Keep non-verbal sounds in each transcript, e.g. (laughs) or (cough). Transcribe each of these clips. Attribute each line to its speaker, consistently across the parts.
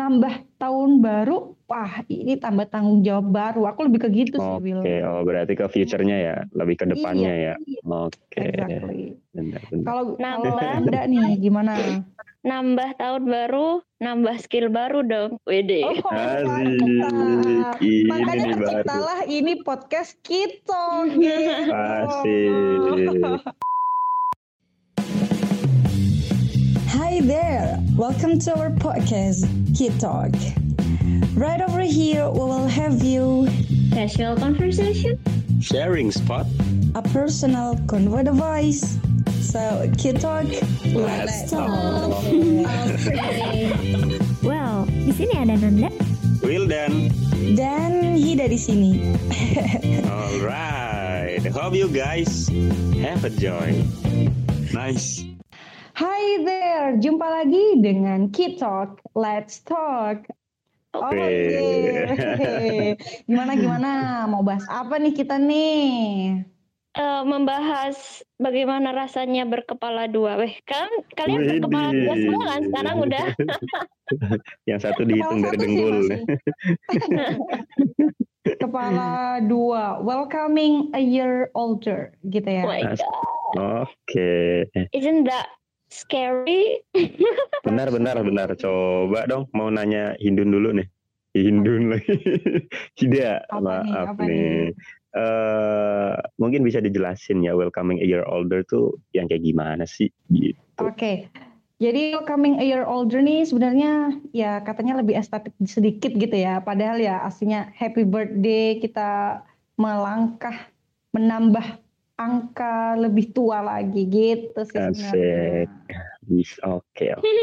Speaker 1: Nambah tahun baru, wah ini tambah tanggung jawab baru, aku lebih ke gitu sih, Will.
Speaker 2: Oke, oh berarti ke future-nya ya, lebih ke
Speaker 1: Iya,
Speaker 2: depannya ya.
Speaker 1: iya,
Speaker 2: Oke.
Speaker 1: exactly.
Speaker 2: Benar, benar.
Speaker 1: Kalau kalau
Speaker 3: Nambah.
Speaker 1: Anda nih gimana?
Speaker 3: Nambah tahun baru, nambah skill baru dong. Wede.
Speaker 2: Asik.
Speaker 1: Oh, mantap.
Speaker 2: Ini
Speaker 1: Makanya
Speaker 2: nih baru.
Speaker 1: terciptalah ini podcast kita. gitu.
Speaker 2: Asik.
Speaker 4: Hi there! Welcome to our podcast, Kid Talk. Right over here, we will have you
Speaker 3: Casual conversation?
Speaker 2: Sharing spot.
Speaker 4: a personal convo device. So, Kid Talk, let's talk.
Speaker 5: Wow, di sini ada Nanda.
Speaker 2: Will dan
Speaker 4: Dan Hida di sini.
Speaker 2: alright. Hope you guys have a joy. Nice.
Speaker 1: Hi there, jumpa lagi dengan Kid Talk. Let's talk. Oke. gimana gimana? Mau bahas apa nih kita nih?
Speaker 3: Eh, membahas bagaimana rasanya berkepala dua. Weh, kan kalian berkepala dua
Speaker 2: Widih.
Speaker 3: semua kan sekarang udah.
Speaker 2: Yang satu dihitung
Speaker 1: Salah
Speaker 2: dari
Speaker 1: satu sih
Speaker 2: dengkul. (laughs)
Speaker 1: masih. Kepala dua, welcoming a year older, gitu ya.
Speaker 3: Oh my
Speaker 2: Asik.
Speaker 3: God.
Speaker 2: Oke.
Speaker 3: Isn't that scary?
Speaker 2: Benar, benar, benar. Coba dong mau nanya Hindun dulu nih. Hindun lagi. (laughs) Tidak,
Speaker 1: Apa nih,
Speaker 2: maaf
Speaker 1: apa
Speaker 2: nih. Eh, mungkin bisa dijelasin ya welcoming a year older tuh yang kayak gimana sih gitu.
Speaker 1: Oke. Jadi coming a year older nih sebenarnya ya katanya lebih estetik sedikit gitu ya. Padahal ya aslinya happy birthday kita melangkah menambah angka lebih tua lagi gitu sih sebenarnya.
Speaker 2: Asik. Is- Oke, oke.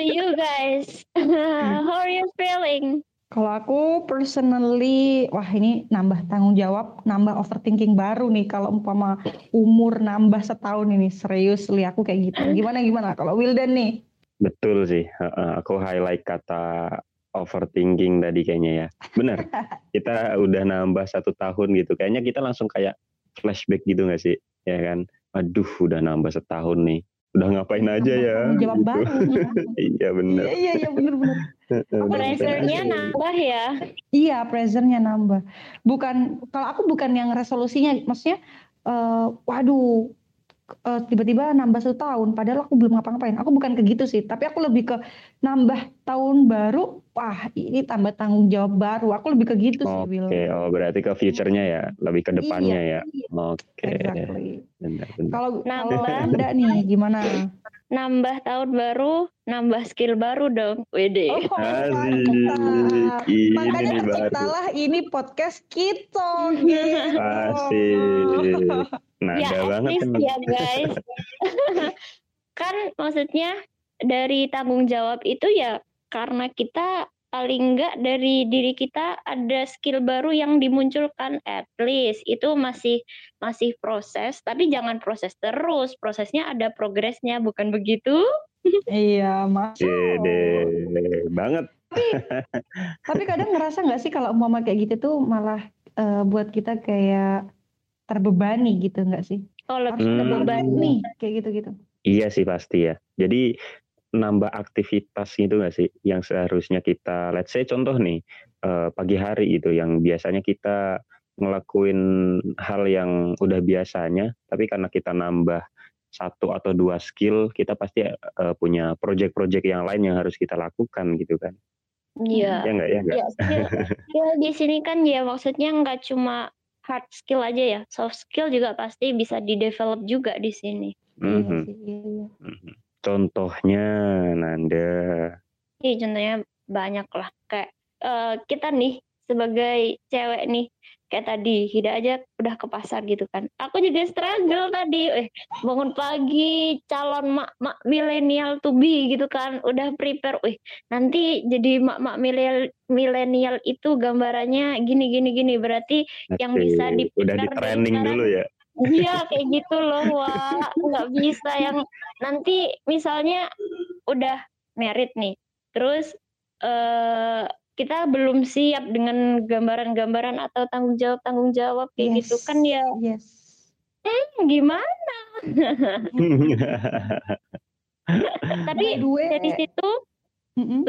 Speaker 3: you guys, (laughs) how are you feeling?
Speaker 1: Kalau aku personally, wah ini nambah tanggung jawab, nambah overthinking baru nih kalau umpama umur nambah setahun ini serius li aku kayak gitu. Gimana gimana kalau Wildan nih?
Speaker 2: Betul sih. Heeh, Aku highlight kata overthinking tadi kayaknya ya.
Speaker 1: (laughs)
Speaker 2: Benar. Kita udah nambah satu tahun gitu. Kayaknya kita langsung kayak flashback gitu nggak sih? Ya kan. Aduh, udah nambah setahun nih. Udah ngapain
Speaker 1: Nambah
Speaker 2: aja ya?
Speaker 1: Tanggung jawab
Speaker 2: gitu. (laughs)
Speaker 1: baru.
Speaker 2: Iya benar.
Speaker 1: Iya iya iya bener bener. Apa Nah,
Speaker 2: Bener.
Speaker 3: Pressure-nya
Speaker 1: Benar.
Speaker 3: nambah ya.
Speaker 1: Iya, presentnya nambah. Bukan kalau aku bukan yang resolusinya, maksudnya, eh, waduh, eh, tiba-tiba nambah satu tahun. Padahal aku belum ngapa-ngapain. Aku bukan ke gitu sih, tapi aku lebih ke nambah tahun baru. Wah, ini tambah tanggung jawab baru. Aku lebih ke gitu sih, Will.
Speaker 2: Oke, oh berarti ke future-nya ya, lebih ke depannya
Speaker 1: Iya,
Speaker 2: ya.
Speaker 1: iya,
Speaker 2: Oke.
Speaker 1: Exactly.
Speaker 2: Benar, benar.
Speaker 1: Kalau kalau
Speaker 3: Nambah.
Speaker 1: Anda nih
Speaker 2: (laughs)
Speaker 1: gimana?
Speaker 3: Nambah tahun baru, nambah skill baru dong. Wede.
Speaker 1: Oh,
Speaker 2: Asik.
Speaker 1: mantap.
Speaker 2: Ini
Speaker 1: Makanya
Speaker 2: nih baru.
Speaker 1: terciptalah ini podcast kita.
Speaker 2: Asik.
Speaker 1: (laughs)
Speaker 2: Nada
Speaker 3: ya
Speaker 2: banget.
Speaker 3: aktif
Speaker 2: emang.
Speaker 3: ya
Speaker 2: (laughs)
Speaker 3: guys kan maksudnya dari tanggung jawab itu ya karena kita paling enggak dari diri kita ada skill baru yang dimunculkan at least itu masih masih proses tapi jangan proses terus prosesnya ada progresnya bukan begitu
Speaker 1: Iya, masuk.
Speaker 2: Gede banget.
Speaker 1: Tapi kadang ngerasa nggak sih kalau umpama kayak gitu tuh malah eh, buat kita kayak terbebani gitu nggak sih?
Speaker 3: oh
Speaker 1: Harus
Speaker 3: lebih
Speaker 1: ada
Speaker 2: Hmm.
Speaker 1: beban
Speaker 3: terbebani.
Speaker 1: nih kayak gitu-gitu.
Speaker 2: Iya sih pasti ya. Jadi nambah aktivitas gitu nggak sih yang seharusnya kita let's say contoh nih eh, pagi hari itu yang biasanya kita ngelakuin hal yang udah biasanya tapi karena kita nambah satu atau dua skill kita pasti eh, punya project-project yang lain yang harus kita lakukan gitu kan
Speaker 3: Iya.
Speaker 2: ya nggak ya nggak
Speaker 3: Ya, skill, skill di sini kan ya maksudnya nggak cuma hard skill aja ya, soft skill juga pasti bisa di develop juga di sini.
Speaker 1: Iya
Speaker 2: Mhm,
Speaker 1: sih, iya, iya.
Speaker 2: mhm. contohnya Nanda
Speaker 3: Ih, contohnya banyak lah kayak eh, kita nih sebagai cewek nih kayak tadi Hida aja udah ke pasar gitu kan. Aku juga struggle tadi, eh bangun pagi calon mak-mak milenial to be gitu kan, udah prepare, eh nanti jadi mak-mak milenial milenial itu gambarannya gini gini gini berarti Yang bisa
Speaker 2: Asik. udah di
Speaker 3: diputar dari
Speaker 2: training
Speaker 3: sekarang.
Speaker 2: dulu ya
Speaker 3: Iya kayak gitu loh Wak nggak bisa yang nanti misalnya udah merit nih terus eh kita belum siap dengan gambaran-gambaran atau tanggung jawab tanggung jawab kayak gitu
Speaker 1: Yes,
Speaker 3: kan ya
Speaker 1: Yes.
Speaker 2: ya.
Speaker 3: gimana tapi
Speaker 1: gue
Speaker 3: dari situ
Speaker 1: Mm-mm.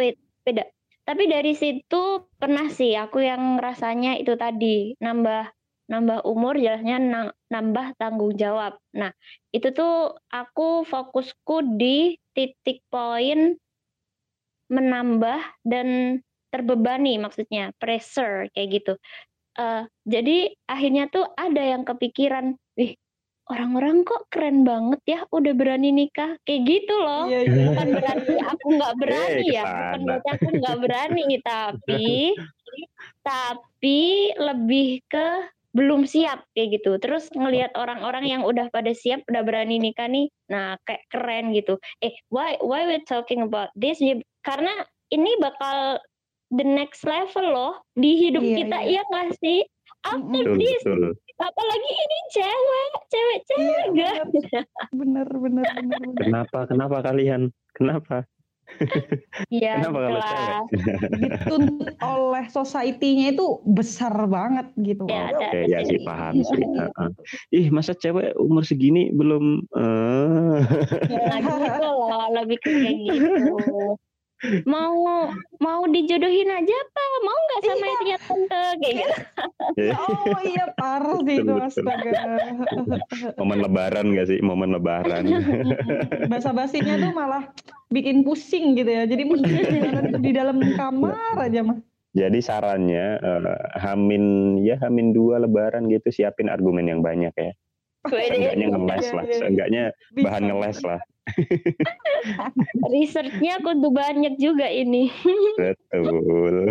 Speaker 3: beda. Tapi dari situ pernah sih aku yang rasanya itu tadi nambah nambah umur jelasnya na- nambah tanggung jawab. Nah, itu tuh aku fokusku di titik poin menambah dan terbebani maksudnya pressure kayak gitu. Eh, jadi akhirnya tuh ada yang kepikiran, wih orang-orang kok keren banget ya udah berani nikah kayak gitu loh
Speaker 4: Iya, iya.
Speaker 3: bukan berarti aku nggak berani
Speaker 2: (laughs) Eh,
Speaker 3: ya bukan
Speaker 2: kesana.
Speaker 3: berarti aku nggak berani
Speaker 2: (laughs)
Speaker 3: tapi tapi lebih ke belum siap kayak gitu terus ngelihat orang-orang yang udah pada siap udah berani nikah nih nah kayak keren gitu eh why why we talking about this Ya, karena ini bakal the next level loh di hidup
Speaker 1: Iya,
Speaker 3: kita
Speaker 1: iya.
Speaker 3: iya nggak sih after
Speaker 2: (laughs) betul
Speaker 3: this
Speaker 2: betul
Speaker 3: apalagi ini cewek cewek
Speaker 1: Iya,
Speaker 3: cewek guys.
Speaker 1: (laughs) bener bener bener bener
Speaker 2: kenapa kenapa kalian kenapa
Speaker 3: Iya,
Speaker 2: kenapa kalau cewek
Speaker 3: jelas.
Speaker 1: dituntut oleh society-nya itu besar banget gitu
Speaker 3: Ya, ada.
Speaker 2: Oke, ya sih paham
Speaker 1: (laughs)
Speaker 2: sih. Heeh. Ih, masa cewek umur segini belum eh
Speaker 3: Nah, gitu loh, lebih ke kayak gitu. Mau mau dijodohin aja apa? Mau nggak
Speaker 1: Iya.
Speaker 3: sama istrinya tante kayak
Speaker 1: (laughs)
Speaker 3: gitu.
Speaker 1: Ya Allah iya parah sih itu
Speaker 2: Betul, betul.
Speaker 1: astaga.
Speaker 2: momen lebaran gak sih? Momen lebaran.
Speaker 1: Bahasa basinya tuh malah bikin pusing gitu ya. Jadi mesti di dalam kamar aja mah.
Speaker 2: Jadi sarannya eh, hamin ya hamin dua lebaran gitu siapin argumen yang banyak ya.
Speaker 3: Wede,
Speaker 2: Seenggaknya ngeles lah,
Speaker 1: Iya, iya.
Speaker 2: seenggaknya
Speaker 1: Bisa.
Speaker 2: bahan ngeles lah.
Speaker 3: Researchnya kudu banyak juga ini.
Speaker 2: Betul.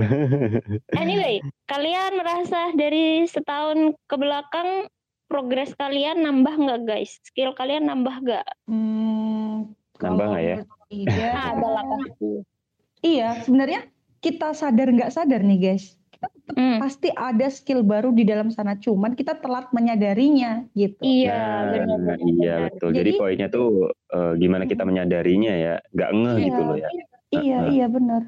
Speaker 3: Anyway, kalian merasa dari setahun ke belakang progres kalian nambah nggak guys? Skill kalian nambah nggak?
Speaker 1: Hmm,
Speaker 2: Nambah
Speaker 1: kalau
Speaker 2: nggak ya?
Speaker 1: menurut Ida,
Speaker 3: Ah, (laughs) ada lah pasti.
Speaker 1: Iya, sebenarnya kita sadar nggak sadar nih guys.
Speaker 3: Hmm,
Speaker 1: Pasti ada skill baru di dalam sana, cuman kita telat menyadarinya gitu.
Speaker 3: Iya,
Speaker 2: Nah,
Speaker 3: benar
Speaker 2: Iya betul. Jadi,
Speaker 1: Jadi-
Speaker 2: poinnya tuh eh, gimana kita menyadarinya ya, nggak ngeh
Speaker 1: Iya.
Speaker 2: gitu loh ya.
Speaker 1: Iya,
Speaker 2: Uh-uh.
Speaker 1: iya benar.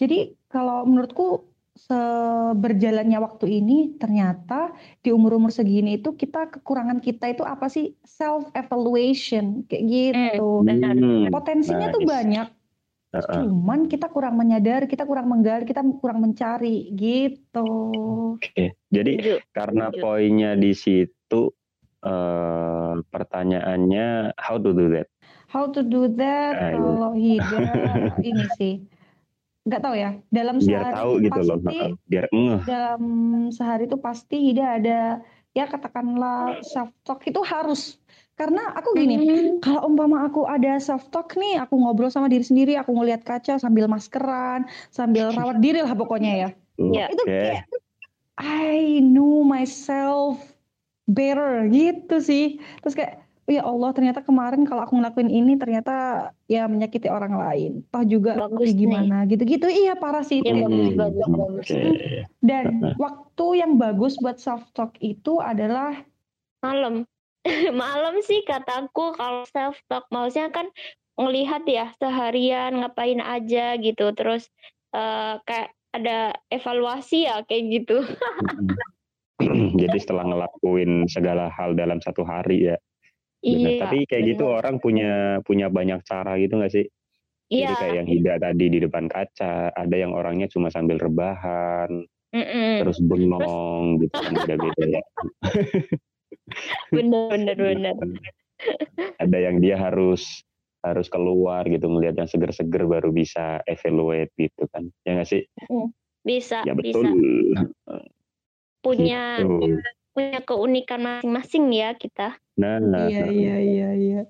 Speaker 1: Jadi kalau menurutku seberjalannya waktu ini ternyata di umur-umur segini itu kita kekurangan kita itu apa sih self evaluation kayak gitu.
Speaker 3: Benar.
Speaker 2: Hmm,
Speaker 1: Potensinya tuh
Speaker 2: nice.
Speaker 1: banyak,
Speaker 2: uh-uh.
Speaker 1: cuman kita kurang menyadari, kita kurang menggali, kita kurang mencari gitu.
Speaker 2: Oke. Jadi
Speaker 3: Setuju.
Speaker 2: karena
Speaker 3: Setuju.
Speaker 2: poinnya di situ eh pertanyaannya how to do that.
Speaker 1: How to do that
Speaker 2: Ah, iya.
Speaker 1: kalau Hida ini sih nggak tahu ya dalam
Speaker 2: Biar
Speaker 1: sehari
Speaker 2: tahu
Speaker 1: itu
Speaker 2: gitu loh,
Speaker 1: pasti
Speaker 2: heeh. biar ngeh.
Speaker 1: dalam sehari itu pasti Hida ada ya katakanlah self talk itu harus karena aku gini
Speaker 3: Hmm,
Speaker 1: kalau umpama aku ada self talk nih aku ngobrol sama diri sendiri aku ngelihat kaca sambil maskeran sambil rawat diri lah pokoknya ya
Speaker 3: Iya.
Speaker 2: Oke.
Speaker 1: itu kayak I know myself better gitu sih terus kayak "Oh ya Allah ternyata kemarin kalau aku ngelakuin ini ternyata ya menyakiti orang lain toh juga aku
Speaker 3: Bagus nih.
Speaker 1: gimana gitu-gitu iya parah sih itu
Speaker 3: Iya,
Speaker 1: kayak-
Speaker 3: bagus,
Speaker 2: Hmm,
Speaker 3: bagus, bagus.
Speaker 2: oke.
Speaker 1: dan waktu yang bagus buat self talk itu adalah
Speaker 3: Malam. (laughs) Malam sih kataku kalau self talk maksudnya kan ngelihat ya seharian ngapain aja gitu. Terus eh, kayak ada evaluasi ya kayak gitu.
Speaker 2: Hmm. (clears throat) Jadi setelah ngelakuin segala hal dalam satu hari ya.
Speaker 3: (laughs)
Speaker 2: bener. Tapi kayak gitu
Speaker 3: Iya, bener.
Speaker 2: orang punya punya banyak cara gitu nggak sih?
Speaker 3: Iya.
Speaker 2: Jadi kayak yang Hida tadi di depan kaca, ada yang orangnya cuma sambil rebahan,
Speaker 3: Hmm. mm-mm.
Speaker 2: terus bengong gitu kan beda-beda ya.
Speaker 3: (laughs) Bener,
Speaker 2: Iya.
Speaker 3: bener, bener.
Speaker 2: ada yang dia harus harus keluar gitu ngelihat yang seger-seger baru bisa evaluate gitu kan ya nggak sih
Speaker 3: Ah, Bisa, iya.
Speaker 2: ya
Speaker 3: bisa.
Speaker 2: betul Nah,
Speaker 3: Punya
Speaker 2: Betul.
Speaker 3: punya keunikan masing-masing ya kita.
Speaker 2: nah
Speaker 1: iya iya iya iya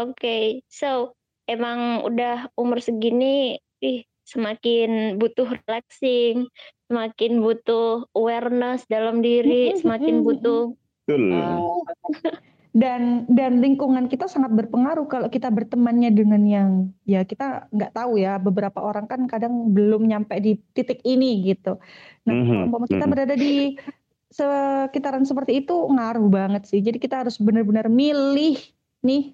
Speaker 3: Oke, so emang udah umur segini, ih semakin butuh relaxing, semakin butuh awareness dalam diri, semakin butuh
Speaker 2: betul Hmm.
Speaker 3: uh,
Speaker 1: (laughs) dan dan lingkungan kita sangat berpengaruh kalau kita bertemannya dengan yang ya kita nggak tahu ya beberapa orang kan kadang belum nyampe di titik ini gitu nah
Speaker 2: Mhm,
Speaker 1: kalau umpama kita
Speaker 2: mhm.
Speaker 1: berada di sekitaran seperti itu ngaruh banget sih jadi kita harus benar-benar milih nih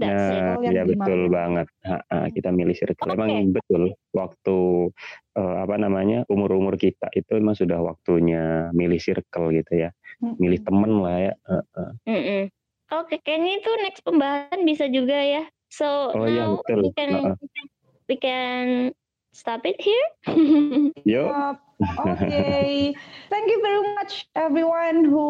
Speaker 3: that's it.
Speaker 2: nah
Speaker 3: Oh,
Speaker 1: circle yang
Speaker 2: ya betul
Speaker 1: dimana.
Speaker 2: banget Ha, ha, kita milih circle
Speaker 3: Oke.
Speaker 2: emang betul waktu eh, apa namanya umur-umur kita itu emang sudah waktunya milih circle gitu ya milih
Speaker 3: Hmm.
Speaker 2: temen lah ya Eh,
Speaker 3: Mm-mm. Oke, kayaknya itu next pembahasan bisa juga ya So
Speaker 2: Oh, iya,
Speaker 3: now
Speaker 2: betul.
Speaker 3: we can
Speaker 2: Heeh.
Speaker 3: we can stop it here. (laughs)
Speaker 2: Yuk.
Speaker 1: Uh, okay. Thank you very much, everyone who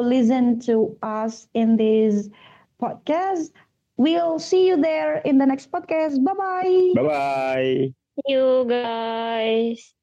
Speaker 1: listened to us in this podcast. We'll see you there in the next podcast. Bye bye.
Speaker 2: Bye bye.
Speaker 3: you guys.